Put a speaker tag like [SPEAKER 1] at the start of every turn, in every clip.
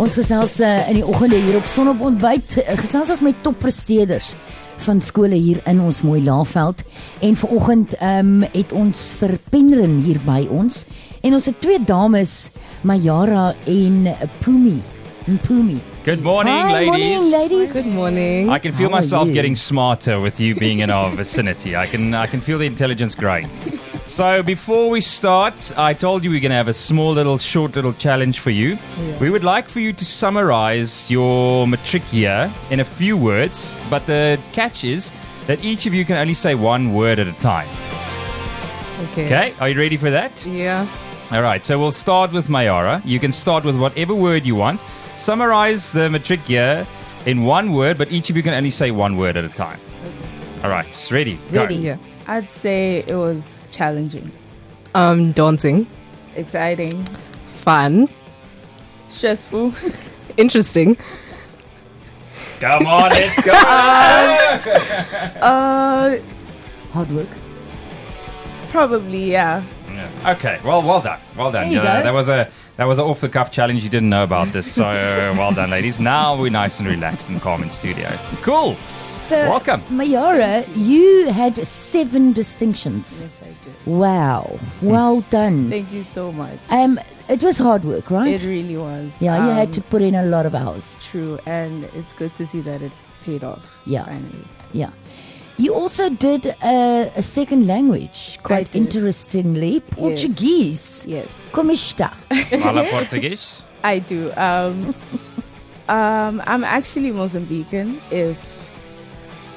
[SPEAKER 1] Ons gesels uh, in die oggende hier op Sonop ontbyt eh, gesels ons met toppresteerders van skole hier in ons mooi Laagveld en vanoggend ehm um, het ons vir Penryn hier by ons en ons het twee dames Mayara en Pumi. Pumi.
[SPEAKER 2] Good morning,
[SPEAKER 1] Hi,
[SPEAKER 2] ladies.
[SPEAKER 1] Morning, ladies.
[SPEAKER 3] Good morning.
[SPEAKER 2] I can feel
[SPEAKER 1] How are
[SPEAKER 2] myself
[SPEAKER 1] you?
[SPEAKER 2] getting smarter with you being in our vicinity. I can I can feel the intelligence growing. So before we start, I told you we are going to have a small little short little challenge for you. We would like for you to summarize your matric year in a few words, but the catch is that each of you can only say one word at a time.
[SPEAKER 3] Okay.
[SPEAKER 2] Okay? Are you ready for that?
[SPEAKER 3] Yeah.
[SPEAKER 2] All right. So we'll start with Mayara. You can start with whatever word you want. Summarize the matric year in one word, but each of you can only say one word at a time. All right. Ready? Go.
[SPEAKER 1] Ready.
[SPEAKER 3] Yeah.
[SPEAKER 4] I'd say it was challenging,
[SPEAKER 3] Um, daunting,
[SPEAKER 4] exciting,
[SPEAKER 3] fun,
[SPEAKER 4] stressful.
[SPEAKER 3] interesting.
[SPEAKER 2] Come on, let's go.
[SPEAKER 4] Uh,
[SPEAKER 1] Hard work.
[SPEAKER 4] probably yeah.
[SPEAKER 2] Yeah. okay. Well, well done. Well done.
[SPEAKER 1] There you go.
[SPEAKER 2] That was a that was an off the cuff challenge. You didn't know about this, so uh, well done, ladies. Now we're nice and relaxed and calm in studio. Cool.
[SPEAKER 1] So
[SPEAKER 2] Welcome.
[SPEAKER 1] Mayara, you had seven distinctions.
[SPEAKER 4] Yes, I do.
[SPEAKER 1] Wow. Well done.
[SPEAKER 4] Thank you so much.
[SPEAKER 1] Um it was hard work, right?
[SPEAKER 4] it really was.
[SPEAKER 1] yeah, you had
[SPEAKER 4] um,
[SPEAKER 1] to put in a lot of hours.
[SPEAKER 4] True, and it's good to see that it paid off.
[SPEAKER 1] Yeah.
[SPEAKER 4] finally.
[SPEAKER 1] Yeah. You also did a, a second language, quite
[SPEAKER 4] did.
[SPEAKER 1] interestingly, Portuguese.
[SPEAKER 4] Yes,
[SPEAKER 1] Como está?
[SPEAKER 2] Fala português.
[SPEAKER 4] I do. Um, um, I'm actually Mozambican. If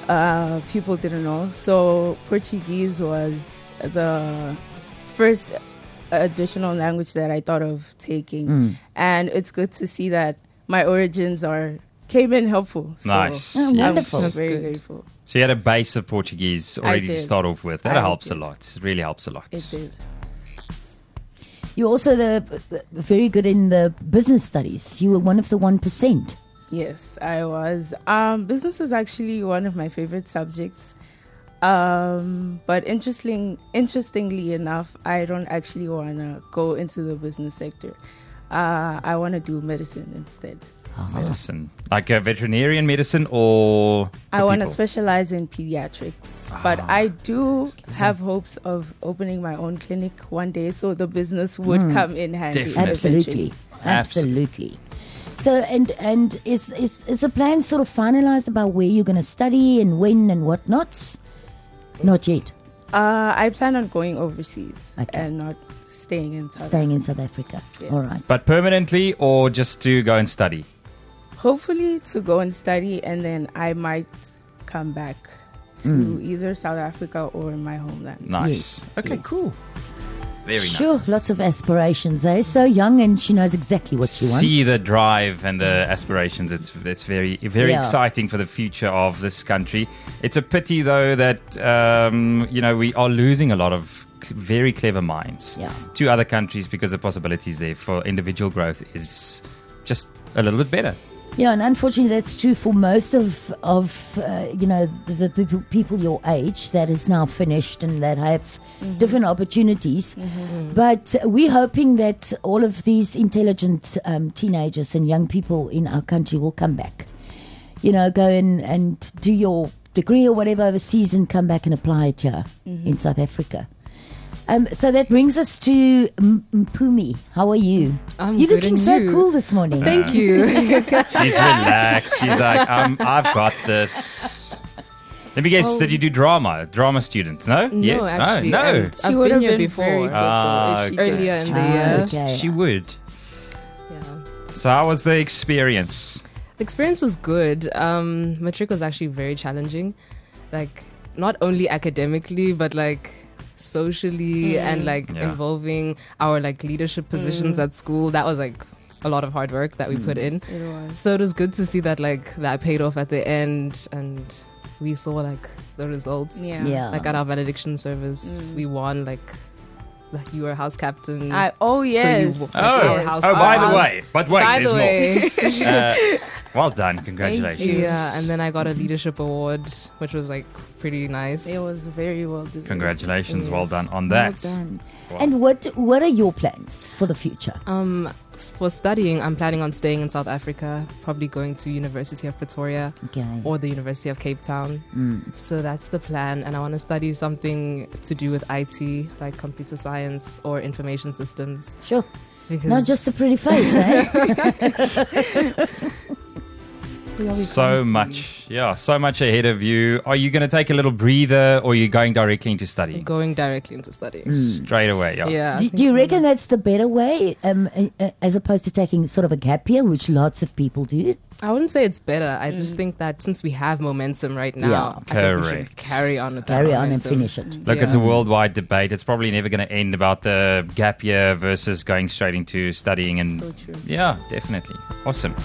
[SPEAKER 4] uh, people didn't know, so Portuguese was the first additional language that I thought of taking.
[SPEAKER 1] Mm.
[SPEAKER 4] and it's good to see that my origins are came in helpful. So
[SPEAKER 2] Nice.
[SPEAKER 1] Oh,
[SPEAKER 2] Yes.
[SPEAKER 4] I'm
[SPEAKER 1] Wonderful.
[SPEAKER 3] That's
[SPEAKER 4] very
[SPEAKER 3] good.
[SPEAKER 4] grateful.
[SPEAKER 2] So you had a base of Portuguese already to
[SPEAKER 4] did.
[SPEAKER 2] start off with. That
[SPEAKER 4] I
[SPEAKER 2] helps a
[SPEAKER 4] did.
[SPEAKER 2] lot. It really helps a lot.
[SPEAKER 4] It did.
[SPEAKER 1] You're also the, the- very good in the business studies. You were one of the 1%.
[SPEAKER 4] Yes, I was. Um, business is actually one of my favorite subjects. Um, but interesting, interestingly enough, I don't actually want to go into the business sector. Uh, I want to do medicine instead.
[SPEAKER 2] Medicine, Ah, like a veterinarian medicine, or
[SPEAKER 4] I want to
[SPEAKER 2] special.
[SPEAKER 4] specialize in pediatrics,
[SPEAKER 2] Ah,
[SPEAKER 4] but I do have hopes of opening my own clinic one day, so the business would come in handy.
[SPEAKER 2] Hmm. Definitely.
[SPEAKER 1] Absolutely.
[SPEAKER 4] eventually.
[SPEAKER 1] Absolutely. So and and is, is is the plan sort of finalized about where you're going to study and when and whatnot? Not yet.
[SPEAKER 4] Uh, I plan on going overseas
[SPEAKER 1] Okay.
[SPEAKER 4] and not staying in South.
[SPEAKER 1] Staying in South Africa.
[SPEAKER 4] Yes.
[SPEAKER 1] All right.
[SPEAKER 2] but permanently or just to go and study.
[SPEAKER 4] Hopefully, to go and study, and then I might come back to
[SPEAKER 2] Hmm.
[SPEAKER 4] either South Africa or my homeland.
[SPEAKER 2] Nice.
[SPEAKER 1] Yes,
[SPEAKER 2] okay,
[SPEAKER 1] yes.
[SPEAKER 2] cool. Very
[SPEAKER 1] sure, lots of aspirations. Eh? So young, and she knows exactly what she wants.
[SPEAKER 2] See the drive and the aspirations. It's it's very very
[SPEAKER 1] Yeah.
[SPEAKER 2] exciting for the future of this country. It's a pity though that um, you know we are losing a lot of cl- very clever minds
[SPEAKER 1] Yeah.
[SPEAKER 2] to other countries because the possibilities there for individual growth is just a little bit better.
[SPEAKER 1] Yeah, and unfortunately, that's true for most of of uh, you know the, the people, people your age that is now finished and that have
[SPEAKER 3] Mm-hmm.
[SPEAKER 1] different opportunities. But we're hoping that all of these intelligent um, teenagers and young people in our country will come back. You know, go and and do your degree or whatever overseas and come back and apply it here
[SPEAKER 3] Mm-hmm.
[SPEAKER 1] in South Africa. Um, so that brings us to M- Mpumi. How are you?
[SPEAKER 3] I'm
[SPEAKER 1] You're
[SPEAKER 3] good
[SPEAKER 1] looking
[SPEAKER 3] and
[SPEAKER 1] so
[SPEAKER 3] you?
[SPEAKER 1] cool this morning.
[SPEAKER 3] Thank you.
[SPEAKER 2] She's relaxed. She's like, um, I've got this. Let me guess. did you do drama? Drama student? No. yes.
[SPEAKER 3] No, actually.
[SPEAKER 2] no.
[SPEAKER 3] um,
[SPEAKER 2] No.
[SPEAKER 3] and I've
[SPEAKER 4] would
[SPEAKER 3] been
[SPEAKER 4] have
[SPEAKER 3] here
[SPEAKER 4] been very
[SPEAKER 3] before.
[SPEAKER 4] good,
[SPEAKER 2] Ah,
[SPEAKER 4] though, if she did.
[SPEAKER 3] Earlier in the
[SPEAKER 1] Ah,
[SPEAKER 3] year.
[SPEAKER 1] okay.
[SPEAKER 2] She would.
[SPEAKER 3] Yeah.
[SPEAKER 2] So how was the experience?
[SPEAKER 3] The experience was good. Um, matric was actually very challenging, like not only academically but like socially and like
[SPEAKER 2] Yeah.
[SPEAKER 3] involving our like leadership positions at school. That was like a lot of hard work that we put in.
[SPEAKER 4] It was.
[SPEAKER 3] So it was good to see that like that paid off at the end, and we saw like the results.
[SPEAKER 4] Yeah.
[SPEAKER 1] Yeah.
[SPEAKER 3] Like at our benediction service, we won. Like, like you were house captain.
[SPEAKER 4] I, oh yes.
[SPEAKER 3] w-
[SPEAKER 2] Oh,
[SPEAKER 3] Like our house-
[SPEAKER 2] oh by
[SPEAKER 3] our
[SPEAKER 2] the
[SPEAKER 3] house-
[SPEAKER 2] way, but wait,
[SPEAKER 3] by
[SPEAKER 2] there's
[SPEAKER 3] the way,
[SPEAKER 2] more. Uh, well done, congratulations.
[SPEAKER 4] you.
[SPEAKER 3] yeah. And then I got a leadership award, which was like pretty nice.
[SPEAKER 4] it was very well deserved.
[SPEAKER 2] Congratulations, well
[SPEAKER 3] Yes.
[SPEAKER 2] done on
[SPEAKER 1] Well
[SPEAKER 2] that.
[SPEAKER 1] done.
[SPEAKER 2] Wow.
[SPEAKER 1] And what what are your plans for the future?
[SPEAKER 3] Um, for studying, I'm planning on staying in South Africa, probably going to University of Pretoria
[SPEAKER 1] Okay.
[SPEAKER 3] or the University of Cape Town.
[SPEAKER 1] Mm.
[SPEAKER 3] So that's the plan, and I want to study something to do with IT, like computer science or information systems.
[SPEAKER 1] Sure.
[SPEAKER 3] Because
[SPEAKER 1] Not just the pretty face, eh?
[SPEAKER 2] So much. Yeah, so much ahead of you. Are you going to take a little breather or are you going directly into studying?
[SPEAKER 3] going directly into studying.
[SPEAKER 2] Straight away, yeah.
[SPEAKER 3] Yeah. I
[SPEAKER 1] Mm. Do,
[SPEAKER 3] think
[SPEAKER 1] do you reckon that's the better way, um, uh, uh, as opposed to taking sort of a gap year, which lots of people do?
[SPEAKER 3] I wouldn't say it's better. I
[SPEAKER 1] Mm.
[SPEAKER 3] just think that since we have momentum right now,
[SPEAKER 1] Yeah.
[SPEAKER 3] I think we
[SPEAKER 2] Correct.
[SPEAKER 3] should carry on with that.
[SPEAKER 1] Carry on and
[SPEAKER 3] momentum.
[SPEAKER 1] finish it.
[SPEAKER 2] Look,
[SPEAKER 3] Yeah.
[SPEAKER 2] it's a worldwide debate. It's probably never going to end about the gap year versus going straight into studying and
[SPEAKER 3] So true.
[SPEAKER 2] Yeah, definitely. Awesome.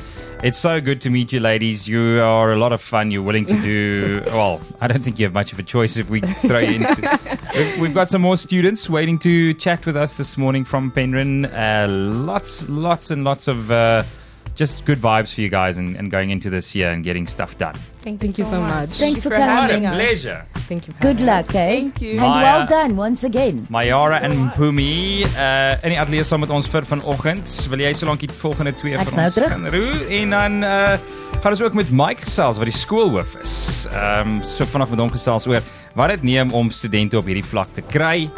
[SPEAKER 2] It's so good to meet you, ladies. You are a lot of fun. You're willing to do well. I don't think you have much of a choice if we throw you into. We've- We've got some more students waiting to chat with us this morning from Penryn. Uh, lots, lots, and lots of uh, just good vibes for you guys and, and going into this year and getting stuff done.
[SPEAKER 4] Thank
[SPEAKER 3] Thank you so much.
[SPEAKER 1] Thanks for
[SPEAKER 2] What a
[SPEAKER 1] coming.
[SPEAKER 2] pleasure.
[SPEAKER 3] Thank you. for
[SPEAKER 1] Good
[SPEAKER 3] having
[SPEAKER 1] luck, eh?
[SPEAKER 4] Thank you.
[SPEAKER 1] And
[SPEAKER 2] Maya.
[SPEAKER 1] well done once again.
[SPEAKER 2] Mayara en Pumi, eh in die ateljee saam met ons vir vanoggend. Wil jy solank die volgende twee
[SPEAKER 1] Ek's
[SPEAKER 2] vir
[SPEAKER 1] nou
[SPEAKER 2] ons
[SPEAKER 1] terug.
[SPEAKER 2] gaan roer en dan eh gaan ons ook met Mike gesels wat die skoolhoof is. Ehm so vanaand met hom gesels oor wat dit neem om studente op hierdie vlak te kry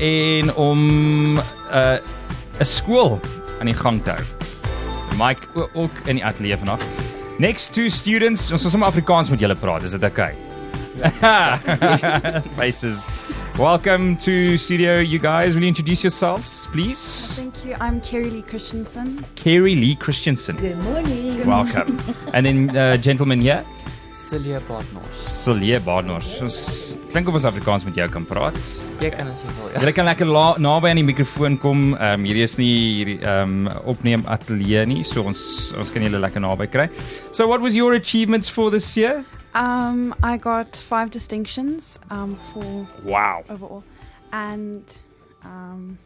[SPEAKER 2] en om eh 'n skool aan die gang te hou. Mike o- ook in die ateljee vanaand. Next two students, ons gaan sommer Afrikaans met julle praat. Is dit okay? faces. Welcome to studio, you guys. Will you introduce yourselves, please?
[SPEAKER 5] Thank you. I'm Kerry Lee Christensen.
[SPEAKER 2] Kerry Lee Christensen.
[SPEAKER 1] Good morning.
[SPEAKER 2] Welcome. and then, uh, gentlemen, yeah?
[SPEAKER 6] Celia Barnard.
[SPEAKER 2] Silje Barnard. Ons klink of ons Afrikaans met jou kan praat.
[SPEAKER 6] Jy kan as jy wil. Ja.
[SPEAKER 2] Julle kan lekker la- naby aan die mikrofoon kom. Ehm um, hierdie is nie hierdie ehm um, opneem ateljee nie, so ons ons kan julle lekker naby kry. So what was your achievements for this year?
[SPEAKER 5] Um, I got five distinctions um, for
[SPEAKER 2] Wow.
[SPEAKER 5] overall, and um,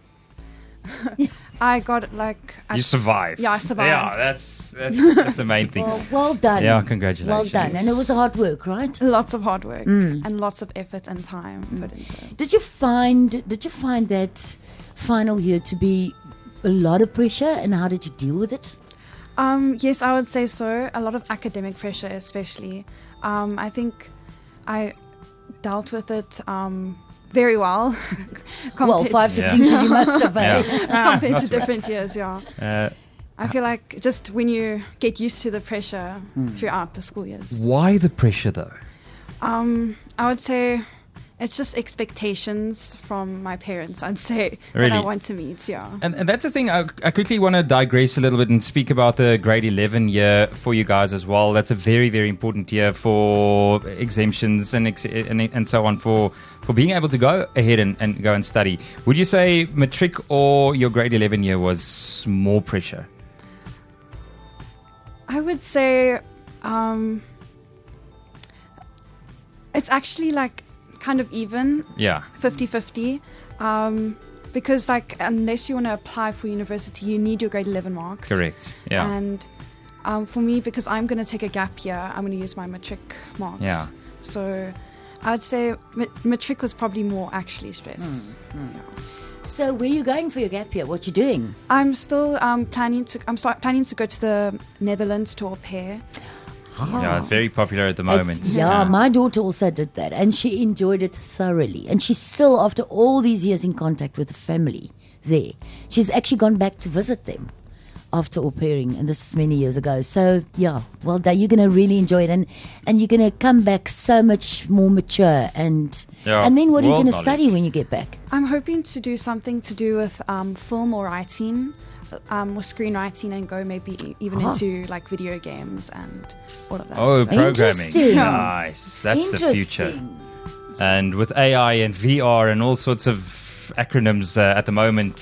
[SPEAKER 5] I got like I
[SPEAKER 2] You
[SPEAKER 5] s-
[SPEAKER 2] survived.
[SPEAKER 5] Yeah, I survived.
[SPEAKER 2] Yeah, that's that's that's the main thing.
[SPEAKER 1] Well, well done.
[SPEAKER 2] Yeah, congratulations.
[SPEAKER 1] Well done. And it was hard work, right?
[SPEAKER 5] Lots of hard work
[SPEAKER 1] Mm.
[SPEAKER 5] and lots of effort and time put into it.
[SPEAKER 1] Did you find did you find that final year to be a lot of pressure and how did you deal with it?
[SPEAKER 5] Um, yes, I would say so. A lot of academic pressure, especially. Um, I think I dealt with it um, very well.
[SPEAKER 1] well,
[SPEAKER 5] compared-
[SPEAKER 1] five Ah.
[SPEAKER 2] Yeah.
[SPEAKER 1] distinctions you must have had.
[SPEAKER 2] Yeah.
[SPEAKER 5] compared
[SPEAKER 2] not too bad.
[SPEAKER 5] to different years, yeah.
[SPEAKER 2] Uh,
[SPEAKER 5] I feel like just when you get used to the pressure throughout the school years,
[SPEAKER 2] Why the pressure though?
[SPEAKER 5] um, I would say it's just expectations from my parents. I'd say that I
[SPEAKER 2] Really?
[SPEAKER 5] want to meet. Yeah,
[SPEAKER 2] And, and that's the thing. I, I quickly want to digress a little bit and speak about the grade 11 year for you guys as well. That's a very, very important year for exemptions and ex- and, and so on for, for being able to go ahead and, and go and study. Would you say matric or your grade 11 year was more pressure?
[SPEAKER 5] I would say um, it's actually like kind of even
[SPEAKER 2] Yeah.
[SPEAKER 5] 50-50 um, because like unless you want to apply for university, you need your grade eleven marks.
[SPEAKER 2] Correct. Yeah.
[SPEAKER 5] And um, for me, because I'm going to take a gap year, I'm going to use my matric marks.
[SPEAKER 2] Yeah.
[SPEAKER 5] So I'd say ma- matric was probably more actually stress. Yeah.
[SPEAKER 1] So where you going for your gap year? What you doing?
[SPEAKER 5] I'm still um, planning to. I'm start, planning to go to the Netherlands to au pair.
[SPEAKER 2] yeah. It's very popular at the moment.
[SPEAKER 1] It's- yeah, my daughter also did that, and she enjoyed it thoroughly. And she's still, after all these years, in contact with the family there. She's actually gone back to visit them after au pairing, and this is many years ago. So yeah, well, done. you're going to really enjoy it, and and you're going to come back so much more mature. And
[SPEAKER 2] Yeah,
[SPEAKER 1] and then what are you
[SPEAKER 2] world
[SPEAKER 1] going to
[SPEAKER 2] knowledge.
[SPEAKER 1] study when you get back?
[SPEAKER 5] I'm hoping to do something to do with um, film or writing, um, or screenwriting, and go maybe e-, even
[SPEAKER 1] Ah.
[SPEAKER 5] into like video games and all of that.
[SPEAKER 2] Oh,
[SPEAKER 5] stuff.
[SPEAKER 2] programming.
[SPEAKER 1] Interesting.
[SPEAKER 2] Nice. That's the future.
[SPEAKER 1] Interesting.
[SPEAKER 2] And with AI and VR and all sorts of acronyms uh, at the moment,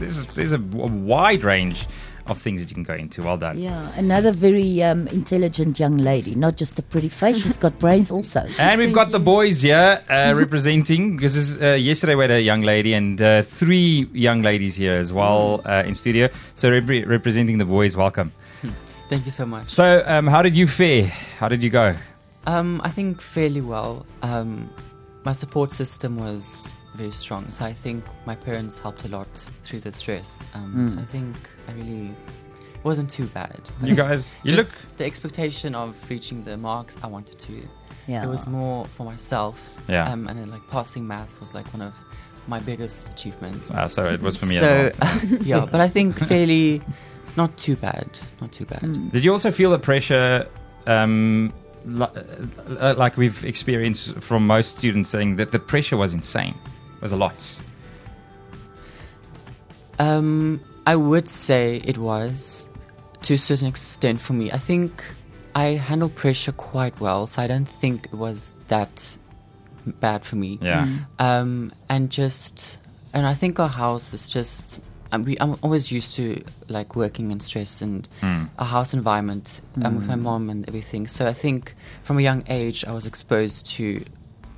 [SPEAKER 2] there's, there's a w- wide range of things that you can go into. Well done.
[SPEAKER 1] Yeah, another very um, intelligent young lady. Not just a pretty face; she's got brains also.
[SPEAKER 2] And we've got the boys here uh, representing because this is, uh, yesterday we had a young lady and uh, three young ladies here as well uh, in studio. So repre- representing the boys, welcome.
[SPEAKER 6] Thank you so much.
[SPEAKER 2] So um, how did you fare? How did you go?
[SPEAKER 6] um I think fairly well. Um My support system was very strong, so I think my parents helped a lot through the stress. Um,
[SPEAKER 2] Hmm.
[SPEAKER 6] So I think I really it wasn't too bad.
[SPEAKER 2] You guys, you look.
[SPEAKER 6] Just the expectation of reaching the marks I wanted to.
[SPEAKER 1] Yeah.
[SPEAKER 6] It was more for myself.
[SPEAKER 2] Yeah.
[SPEAKER 6] Um, and then like passing math was like one of my biggest achievements.
[SPEAKER 2] Ah, sorry, it was for me. as well.
[SPEAKER 6] so yeah, but I think fairly not too bad. Not too bad.
[SPEAKER 2] Did you also feel the pressure, um, li- uh, like we've experienced from most students, saying that the pressure was insane? It was a lot.
[SPEAKER 6] Um, I would say it was to a certain extent for me. I think I handle pressure quite well, so I don't think it was that bad for me.
[SPEAKER 2] Yeah.
[SPEAKER 6] Um, and just, and I think our house is just. Um, we, I'm always used to like working and stress and a house environment um, with my mom and everything. So I think from a young age I was exposed to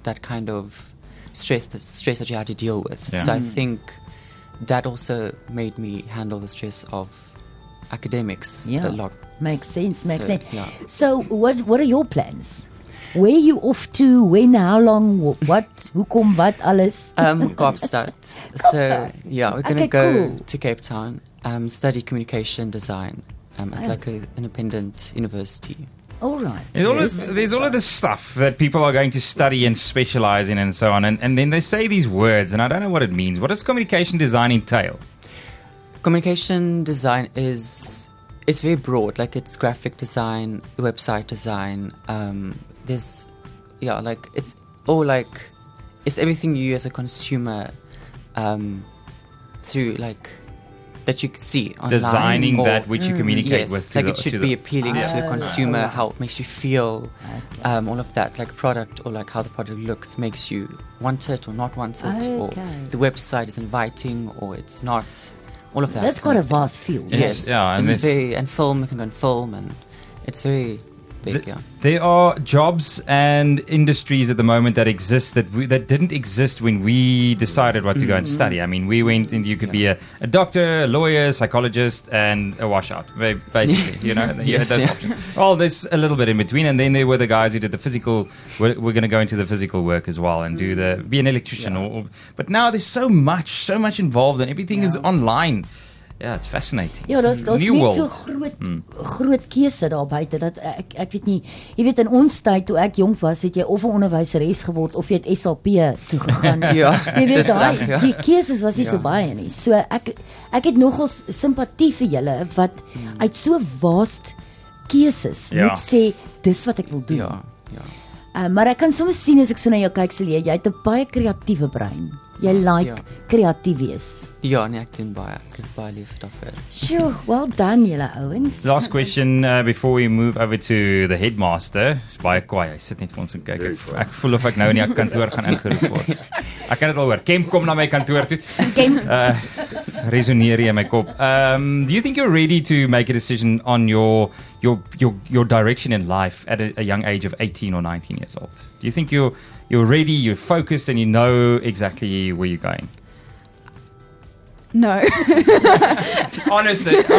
[SPEAKER 6] that kind of stress, the stress that you had to deal with.
[SPEAKER 2] Yeah.
[SPEAKER 6] So I think that also made me handle the stress of academics
[SPEAKER 1] Yeah.
[SPEAKER 6] a lot.
[SPEAKER 1] Makes sense, makes
[SPEAKER 6] So,
[SPEAKER 1] sense.
[SPEAKER 6] yeah.
[SPEAKER 1] So, what what are your plans? Where you off to? When? How long? wh- What? Who come? What? Alles?
[SPEAKER 6] Um, Kaapstad. so
[SPEAKER 1] Kaapstad.
[SPEAKER 6] yeah, we're gonna
[SPEAKER 1] Okay,
[SPEAKER 6] go
[SPEAKER 1] cool.
[SPEAKER 6] to Cape Town, um, study communication design um,
[SPEAKER 1] Oh.
[SPEAKER 6] at like an independent university.
[SPEAKER 1] All right.
[SPEAKER 2] There's all, of, there's all of this stuff that people are going to study and specialize in and so on. And, and then they say these words, and I don't know what it means. What does communication design entail?
[SPEAKER 6] Communication design is it's very broad. Like it's graphic design, website design. Um, there's yeah, like it's all like it's everything you as a consumer um, through like that you see online.
[SPEAKER 2] Designing
[SPEAKER 6] or-
[SPEAKER 2] that which
[SPEAKER 1] Mm.
[SPEAKER 2] you communicate
[SPEAKER 6] yes,
[SPEAKER 2] with. to
[SPEAKER 6] like
[SPEAKER 2] the-
[SPEAKER 6] it
[SPEAKER 2] to
[SPEAKER 6] should
[SPEAKER 2] the-
[SPEAKER 6] be appealing to the
[SPEAKER 1] Yeah.
[SPEAKER 6] consumer, how it makes you feel, um, all of that, like product or like how the product looks makes you want it or not want it, or
[SPEAKER 1] Okay.
[SPEAKER 6] the website is inviting or it's not, all of that.
[SPEAKER 1] That's
[SPEAKER 6] kind
[SPEAKER 1] quite a
[SPEAKER 6] of thing.
[SPEAKER 1] vast field.
[SPEAKER 2] Yes.
[SPEAKER 6] Yes,
[SPEAKER 2] yeah, and
[SPEAKER 6] and it's
[SPEAKER 2] it's-
[SPEAKER 6] very and film you can go and film and it's very big.
[SPEAKER 2] Th-
[SPEAKER 6] yeah,
[SPEAKER 2] There are jobs and industries at the moment that exist that we, that didn't exist when we decided what to go and
[SPEAKER 6] Mm-hmm.
[SPEAKER 2] study. I mean, we went and you could be a, a doctor, a lawyer, psychologist, and a washout, ba- basically. you know, you had
[SPEAKER 6] Yes,
[SPEAKER 2] those
[SPEAKER 6] yeah.
[SPEAKER 2] options. Well, there's a little bit in between, and then there were the guys who did the physical. We're, we're going to go into the physical work as well and do the
[SPEAKER 6] Mm.
[SPEAKER 2] be an electrician. Or, or- but now there's so much, so much involved, and everything is online. Yeah, it's fascinating.
[SPEAKER 1] Ja, daar's daar's
[SPEAKER 2] New
[SPEAKER 1] nie
[SPEAKER 2] world.
[SPEAKER 1] so groot
[SPEAKER 6] Hmm.
[SPEAKER 1] groot keuse daar buite dat ek ek weet nie. Jy weet in ons tyd toe ek jonk was, het jy of 'n onderwyseres geword of jy het SLP toe gegaan.
[SPEAKER 6] Ja,
[SPEAKER 1] jy weet
[SPEAKER 6] dis
[SPEAKER 1] daai
[SPEAKER 6] reg, ja.
[SPEAKER 1] die keuses was nie so
[SPEAKER 6] Ja.
[SPEAKER 1] baie nie. So ek ek het nogal s- simpatie vir julle wat
[SPEAKER 6] Hmm.
[SPEAKER 1] uit so vast keuses
[SPEAKER 2] Ja.
[SPEAKER 1] moet sê dis wat ek wil doen.
[SPEAKER 6] yeah, yeah.
[SPEAKER 1] Uh, maar ek kan soms sien as ek so na jou kyk, Celia, jy het 'n baie kreatiewe brein. Jy like
[SPEAKER 6] ja.
[SPEAKER 1] kreatief wees.
[SPEAKER 6] Ja, nee, ek doen baie. Ek is baie lief daarvoor.
[SPEAKER 1] Sjoe, well done julle ouens.
[SPEAKER 6] Ja,
[SPEAKER 2] Last question uh, before we move over to the headmaster. Dis baie kwaai. Hy sit net vir ons en kyk. Ek, ek voel of ek nou in die kantoor gaan ingeroep word. Ek kan dit al hoor. Kemp kom na my kantoor toe.
[SPEAKER 1] Ken
[SPEAKER 2] Uh resoneer hier in my kop. Um do you think you're ready to make a decision on your your your your direction in life at a, a young age of 18 or 19 years old? Do you think you're you're ready, you're focused and you know exactly where you're going?
[SPEAKER 5] No,
[SPEAKER 2] Honest, honest
[SPEAKER 6] ja,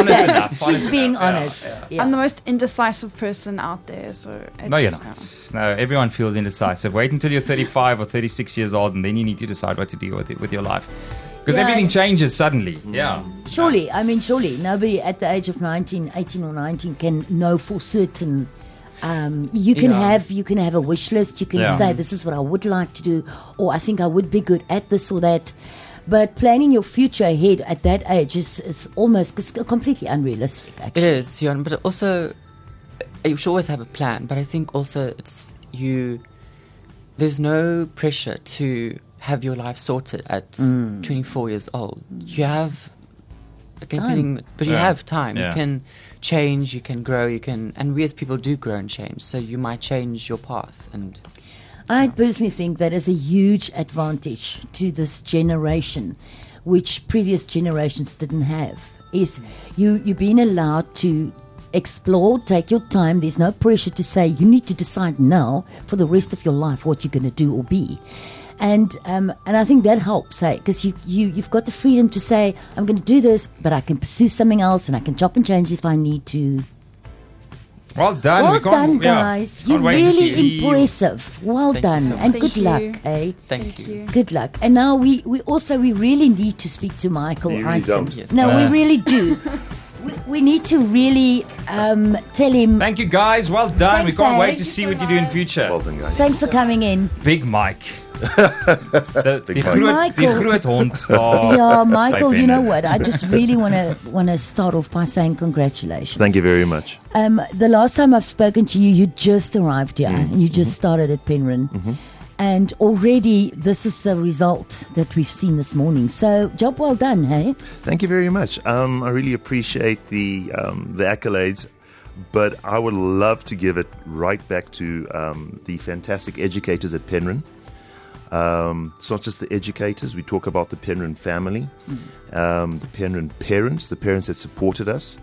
[SPEAKER 2] enough.
[SPEAKER 1] She's
[SPEAKER 2] honest
[SPEAKER 1] being
[SPEAKER 2] enough. Yeah.
[SPEAKER 1] honest. Yeah.
[SPEAKER 5] I'm the most indecisive person out there. So
[SPEAKER 2] No,
[SPEAKER 5] it's,
[SPEAKER 2] you're
[SPEAKER 5] uh,
[SPEAKER 2] not. No, everyone feels indecisive. Wait until you're 35 or 36 years old, and then you need to decide what to do with it with your life, because
[SPEAKER 1] Yeah.
[SPEAKER 2] everything changes suddenly.
[SPEAKER 7] Mm.
[SPEAKER 2] Yeah.
[SPEAKER 1] Surely, I mean, surely nobody at the age of 19, 18 or 19 can know for certain. Um, you can
[SPEAKER 6] Yeah.
[SPEAKER 1] have you can have a wish list. You can
[SPEAKER 2] Yeah.
[SPEAKER 1] say this is what I would like to do, or I think I would be good at this or that. But planning your future ahead at that age is, is almost c- completely unrealistic.
[SPEAKER 6] It
[SPEAKER 1] Actually,
[SPEAKER 6] is, yeah, but also uh, you should always have a plan. But I think also it's you. There's no pressure to have your life sorted at 24 years old. You have time. but you
[SPEAKER 2] Yeah.
[SPEAKER 6] have time.
[SPEAKER 2] Yeah.
[SPEAKER 6] You can change, you can grow, you can, and we as people do grow and change. So you might change your path, and
[SPEAKER 1] I personally think that is a huge advantage to this generation, which previous generations didn't have. Is you you being allowed to explore, take your time. There's no pressure to say you need to decide now for the rest of your life what you're going to do or be. And um, and I think that helps, hey, because you, you you've got the freedom to say I'm going to do this, but I can pursue something else, and I can chop and change if I need to. I
[SPEAKER 2] Well done.
[SPEAKER 1] well
[SPEAKER 2] we can't,
[SPEAKER 1] done,
[SPEAKER 2] yeah,
[SPEAKER 1] guys.
[SPEAKER 2] can't
[SPEAKER 1] You're
[SPEAKER 2] wait to
[SPEAKER 1] really
[SPEAKER 2] see-
[SPEAKER 1] impressive. Well
[SPEAKER 6] Thank you
[SPEAKER 1] done,
[SPEAKER 6] so much.
[SPEAKER 1] and
[SPEAKER 5] Thank
[SPEAKER 1] good
[SPEAKER 5] you.
[SPEAKER 1] luck, eh?
[SPEAKER 6] Thank, you.
[SPEAKER 1] Good luck. And now we, we also we really need to speak to Michael
[SPEAKER 7] You really
[SPEAKER 1] Eisen.
[SPEAKER 7] don't.
[SPEAKER 6] Yes.
[SPEAKER 1] No,
[SPEAKER 2] Uh.
[SPEAKER 1] we really do. we, we need to really um, tell him.
[SPEAKER 2] Thank you, guys. Well done. we
[SPEAKER 1] Thanks,
[SPEAKER 2] can't
[SPEAKER 1] eh?
[SPEAKER 2] wait
[SPEAKER 1] Thank
[SPEAKER 2] to
[SPEAKER 1] you
[SPEAKER 2] see
[SPEAKER 5] so
[SPEAKER 2] what you do in
[SPEAKER 5] much.
[SPEAKER 2] future.
[SPEAKER 7] Well done, guys.
[SPEAKER 1] Thanks for coming in.
[SPEAKER 2] Big Mike. the,
[SPEAKER 7] Big
[SPEAKER 2] die groot-
[SPEAKER 7] Mike.
[SPEAKER 2] die
[SPEAKER 1] Michael.
[SPEAKER 2] groot hond daar.
[SPEAKER 1] yeah, Michael.
[SPEAKER 2] By
[SPEAKER 1] You know
[SPEAKER 2] Bennett.
[SPEAKER 1] what? I just really want to want to start off by saying congratulations.
[SPEAKER 7] Thank you very much.
[SPEAKER 1] Um, the last time I've spoken to you, you just arrived here and you just started at Penryn. And already, this is the result that we've seen this morning. So, job well done, hey?
[SPEAKER 7] Thank you very much. Um, I really appreciate the um, the accolades, but I would love to give it right back to um, the fantastic educators at Penryn. Um, it's not just the educators. We talk about the Penryn family, um, the Penryn parents, the parents that supported us,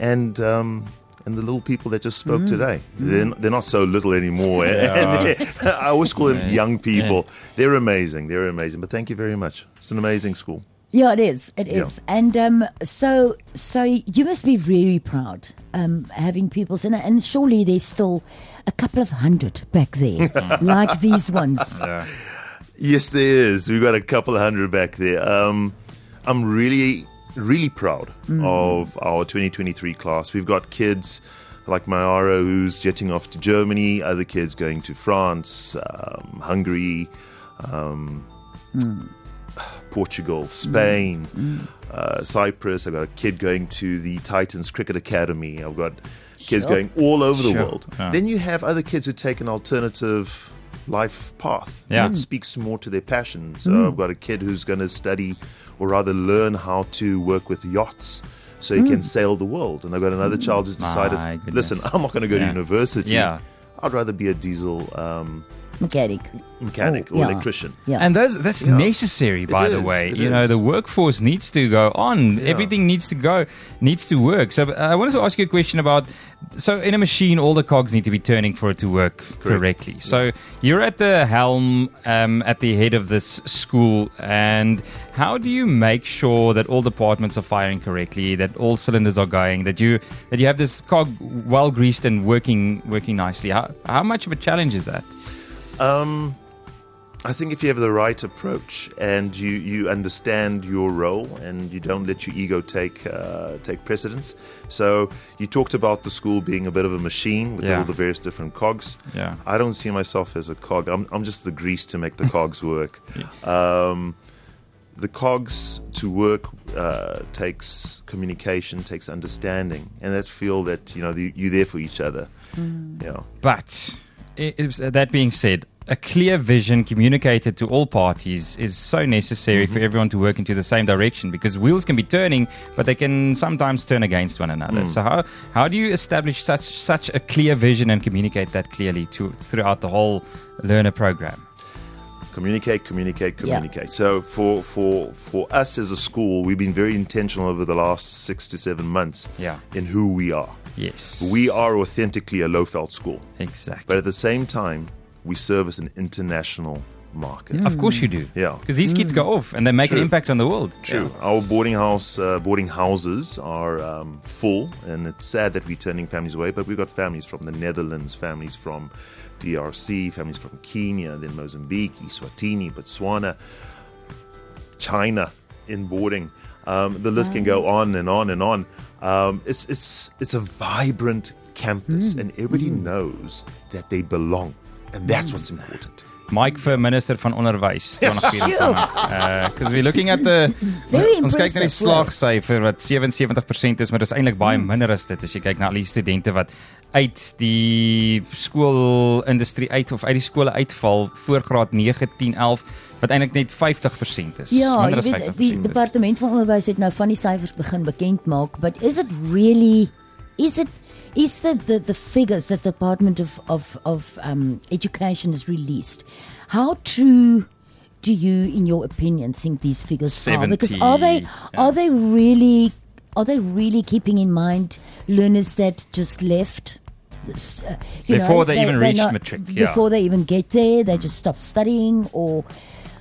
[SPEAKER 7] and um, and the little people that just spoke today. They're, they're not so little anymore. I always call them young people. They're amazing. They're amazing. But thank you very much. It's an amazing school.
[SPEAKER 1] Yeah, it is. It
[SPEAKER 7] Yeah.
[SPEAKER 1] is. And um, so, so you must be very proud um, having pupils, and and surely there's still a couple of hundred back there, like these ones.
[SPEAKER 7] Yes, there is. We've got a couple of hundred back there. Um, I'm really, really proud of our 2023 class. We've got kids like Mayara who's jetting off to Germany, other kids going to France, um, Hungary, um, Portugal,
[SPEAKER 2] Mm.
[SPEAKER 7] Spain, uh, Cyprus. I've got a kid going to the Titans Cricket Academy. I've got kids
[SPEAKER 1] Sure.
[SPEAKER 7] going all over the
[SPEAKER 2] Sure.
[SPEAKER 7] world.
[SPEAKER 2] Yeah.
[SPEAKER 7] Then you have other kids who take an alternative life path
[SPEAKER 2] Yeah.
[SPEAKER 7] that
[SPEAKER 2] Mm.
[SPEAKER 7] speaks more to their passion. So I've got a kid who's going to study or rather learn how to work with yachts so he can sail the world. And I've got another child who's decided,
[SPEAKER 2] Mm. My goodness.
[SPEAKER 7] listen, I'm not going to go to
[SPEAKER 2] Yeah.
[SPEAKER 7] university.
[SPEAKER 2] Yeah.
[SPEAKER 7] I'd rather be a diesel um,
[SPEAKER 1] Mechanic.
[SPEAKER 7] mechanic
[SPEAKER 1] Oh,
[SPEAKER 7] or
[SPEAKER 1] yeah.
[SPEAKER 7] electrician.
[SPEAKER 1] Yeah.
[SPEAKER 2] And those, that's
[SPEAKER 7] Yeah.
[SPEAKER 2] necessary, by the
[SPEAKER 7] is,
[SPEAKER 2] way.
[SPEAKER 7] it
[SPEAKER 2] You know,
[SPEAKER 7] is.
[SPEAKER 2] the workforce needs to go on.
[SPEAKER 7] Yeah.
[SPEAKER 2] Everything needs to go, needs to work. So uh, I wanted to ask you a question about. So in a machine, all the cogs need to be turning for it to work correctly. So you're at the helm, um, at the head of this school, and how do you make sure that all departments are firing correctly, that all cylinders are going, that you that you have this cog well greased and working working nicely? How how much of a challenge is that?
[SPEAKER 7] Um, I think if you have the right approach and you, you understand your role and you don't let your ego take uh, take precedence. So you talked about the school being a bit of a machine with
[SPEAKER 2] Yeah.
[SPEAKER 7] all the various different cogs.
[SPEAKER 2] Yeah.
[SPEAKER 7] I don't see myself as a cog. I'm, I'm just the grease to make the cogs work. Um, the cogs to work uh, takes communication, takes understanding, and that feel that you know you- you're there for each other. Yeah.
[SPEAKER 2] But i- is- uh, that being said, a clear vision communicated to all parties is so necessary
[SPEAKER 7] Mm-hmm.
[SPEAKER 2] for everyone to work into the same direction because wheels can be turning, but they can sometimes turn against one another.
[SPEAKER 7] Mm.
[SPEAKER 2] So how how do you establish such such a clear vision and communicate that clearly to throughout the whole learner program?
[SPEAKER 7] communicate communicate
[SPEAKER 1] Yeah.
[SPEAKER 7] communicate so for for for us as a school we've been very intentional over the last six to seven months
[SPEAKER 2] Yeah.
[SPEAKER 7] in who we are
[SPEAKER 2] Yes,
[SPEAKER 7] we are authentically a lowfeld school
[SPEAKER 2] exactly.
[SPEAKER 7] but at the same time we service an international market
[SPEAKER 2] of course you do.
[SPEAKER 7] Mm. Yeah. Mm.
[SPEAKER 2] because these kids go off and they make an
[SPEAKER 7] True.
[SPEAKER 2] impact on the world.
[SPEAKER 7] True. Our boarding house, uh, boarding houses are um, full, and it's sad that we're turning families away. But we've got families from the Netherlands, families from DRC, families from Kenya, then Mozambique, Eswatini, Botswana, China in boarding. Um, the list can go on and on and on. Um, it's it's it's a vibrant campus, and everybody knows that they belong, and that's what's important.
[SPEAKER 2] Mike vir minister van onderwys
[SPEAKER 1] Ja.
[SPEAKER 2] staan nog hier van. Because we're looking at the
[SPEAKER 1] Very
[SPEAKER 2] ons kyk na die
[SPEAKER 1] impressive, hoor. Hmm.
[SPEAKER 2] slaagsyfer wat 77% is, maar dit is eintlik baie minder as dit as jy kyk na al die studente wat uit die skoolindustrie uit of uit die skole uitval voor graad 9, 10, 11 wat eintlik net 50% is.
[SPEAKER 1] Ja,
[SPEAKER 2] minder
[SPEAKER 1] jy
[SPEAKER 2] as
[SPEAKER 1] weet die
[SPEAKER 2] 50% is.
[SPEAKER 1] departement van onderwys het nou van die syfers begin bekend maak, but is it really is it is the the, the figures that the department of of of um education has released how true do you in your opinion think these figures are because are they
[SPEAKER 2] 70,
[SPEAKER 1] are they really are they really keeping in mind learners that just left S- uh, you
[SPEAKER 2] Before they even
[SPEAKER 1] they're
[SPEAKER 2] reach matric, yeah.
[SPEAKER 1] Before they even get there, they just stop studying or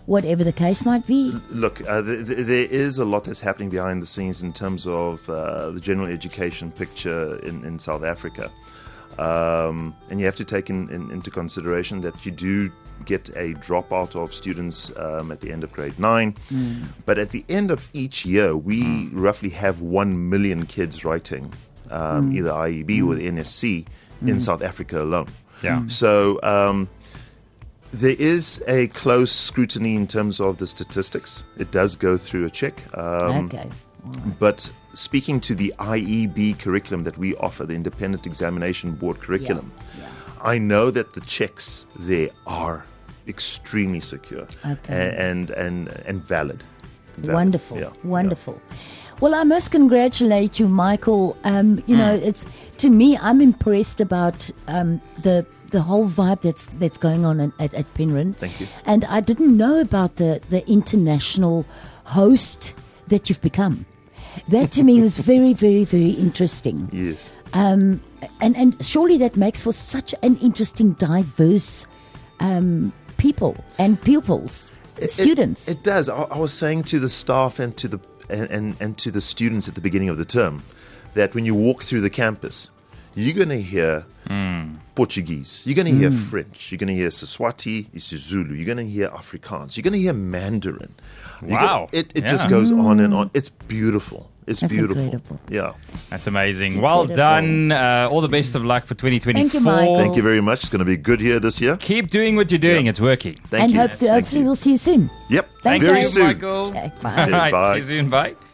[SPEAKER 1] whatever the case might be.
[SPEAKER 7] Look, uh, th- th- there is a lot that's happening behind the scenes in terms of uh, the general education picture in, in South Africa. Um, and you have to take in, in, into consideration that you do get a dropout of students um, at the end of grade nine. But at the end of each year, we roughly have 1 million kids writing um, either IEB or the NSC in South Africa alone.
[SPEAKER 2] Yeah.
[SPEAKER 7] So um, there is a close scrutiny in terms of the statistics. It does go through a check. Um,
[SPEAKER 1] okay.
[SPEAKER 7] But speaking to the IEB curriculum that we offer, the Independent Examination Board curriculum, I know that the checks there are extremely secure
[SPEAKER 1] Okay.
[SPEAKER 7] a- and and and valid. Valid.
[SPEAKER 1] Wonderful.
[SPEAKER 7] Yeah.
[SPEAKER 1] Wonderful. Well, I must congratulate you, Michael. Um, you
[SPEAKER 7] Mm.
[SPEAKER 1] know, it's to me, I'm impressed about um, the the whole vibe that's that's going on in, at, at Penryn.
[SPEAKER 7] Thank you.
[SPEAKER 1] And I didn't know about the the international host that you've become. That to me was very, very, very interesting.
[SPEAKER 7] Yeah. Yes.
[SPEAKER 1] Um,
[SPEAKER 7] Mm.
[SPEAKER 1] and and surely that makes for such an interesting, diverse um, people and pupils, students.
[SPEAKER 7] It, it does. I, I was saying to the staff and to the and, and, and to the students at the beginning of the term that when you walk through the campus, you're going to hear
[SPEAKER 1] Hmm.
[SPEAKER 7] Portuguese, you're going to hear French, you're going to hear Siswati, isiZulu, you're going to hear Afrikaans, you're going to hear Mandarin. You're gonna-
[SPEAKER 2] Wow.
[SPEAKER 7] it it just
[SPEAKER 2] Yeah.
[SPEAKER 7] goes on and on. It's beautiful. It's
[SPEAKER 1] Hmm. That's
[SPEAKER 7] beautiful.
[SPEAKER 1] incredible.
[SPEAKER 7] Yeah.
[SPEAKER 2] That's amazing.
[SPEAKER 1] It's
[SPEAKER 2] well
[SPEAKER 1] incredible.
[SPEAKER 2] done. Uh, all the best of luck for 2024.
[SPEAKER 1] Michael.
[SPEAKER 7] Thank you very much. It's going to be good here this year.
[SPEAKER 2] Keep doing what you're doing.
[SPEAKER 7] Yeah.
[SPEAKER 2] It's working.
[SPEAKER 7] Thank
[SPEAKER 1] and
[SPEAKER 7] you.
[SPEAKER 1] hope,
[SPEAKER 7] Thank
[SPEAKER 1] hopefully
[SPEAKER 7] you.
[SPEAKER 1] we'll see you soon.
[SPEAKER 7] Yep.
[SPEAKER 1] Thank
[SPEAKER 7] very
[SPEAKER 1] you,
[SPEAKER 7] soon.
[SPEAKER 2] Michael.
[SPEAKER 1] Okay,
[SPEAKER 2] All
[SPEAKER 1] bye.
[SPEAKER 2] right.
[SPEAKER 7] Bye.
[SPEAKER 2] See you soon. Bye.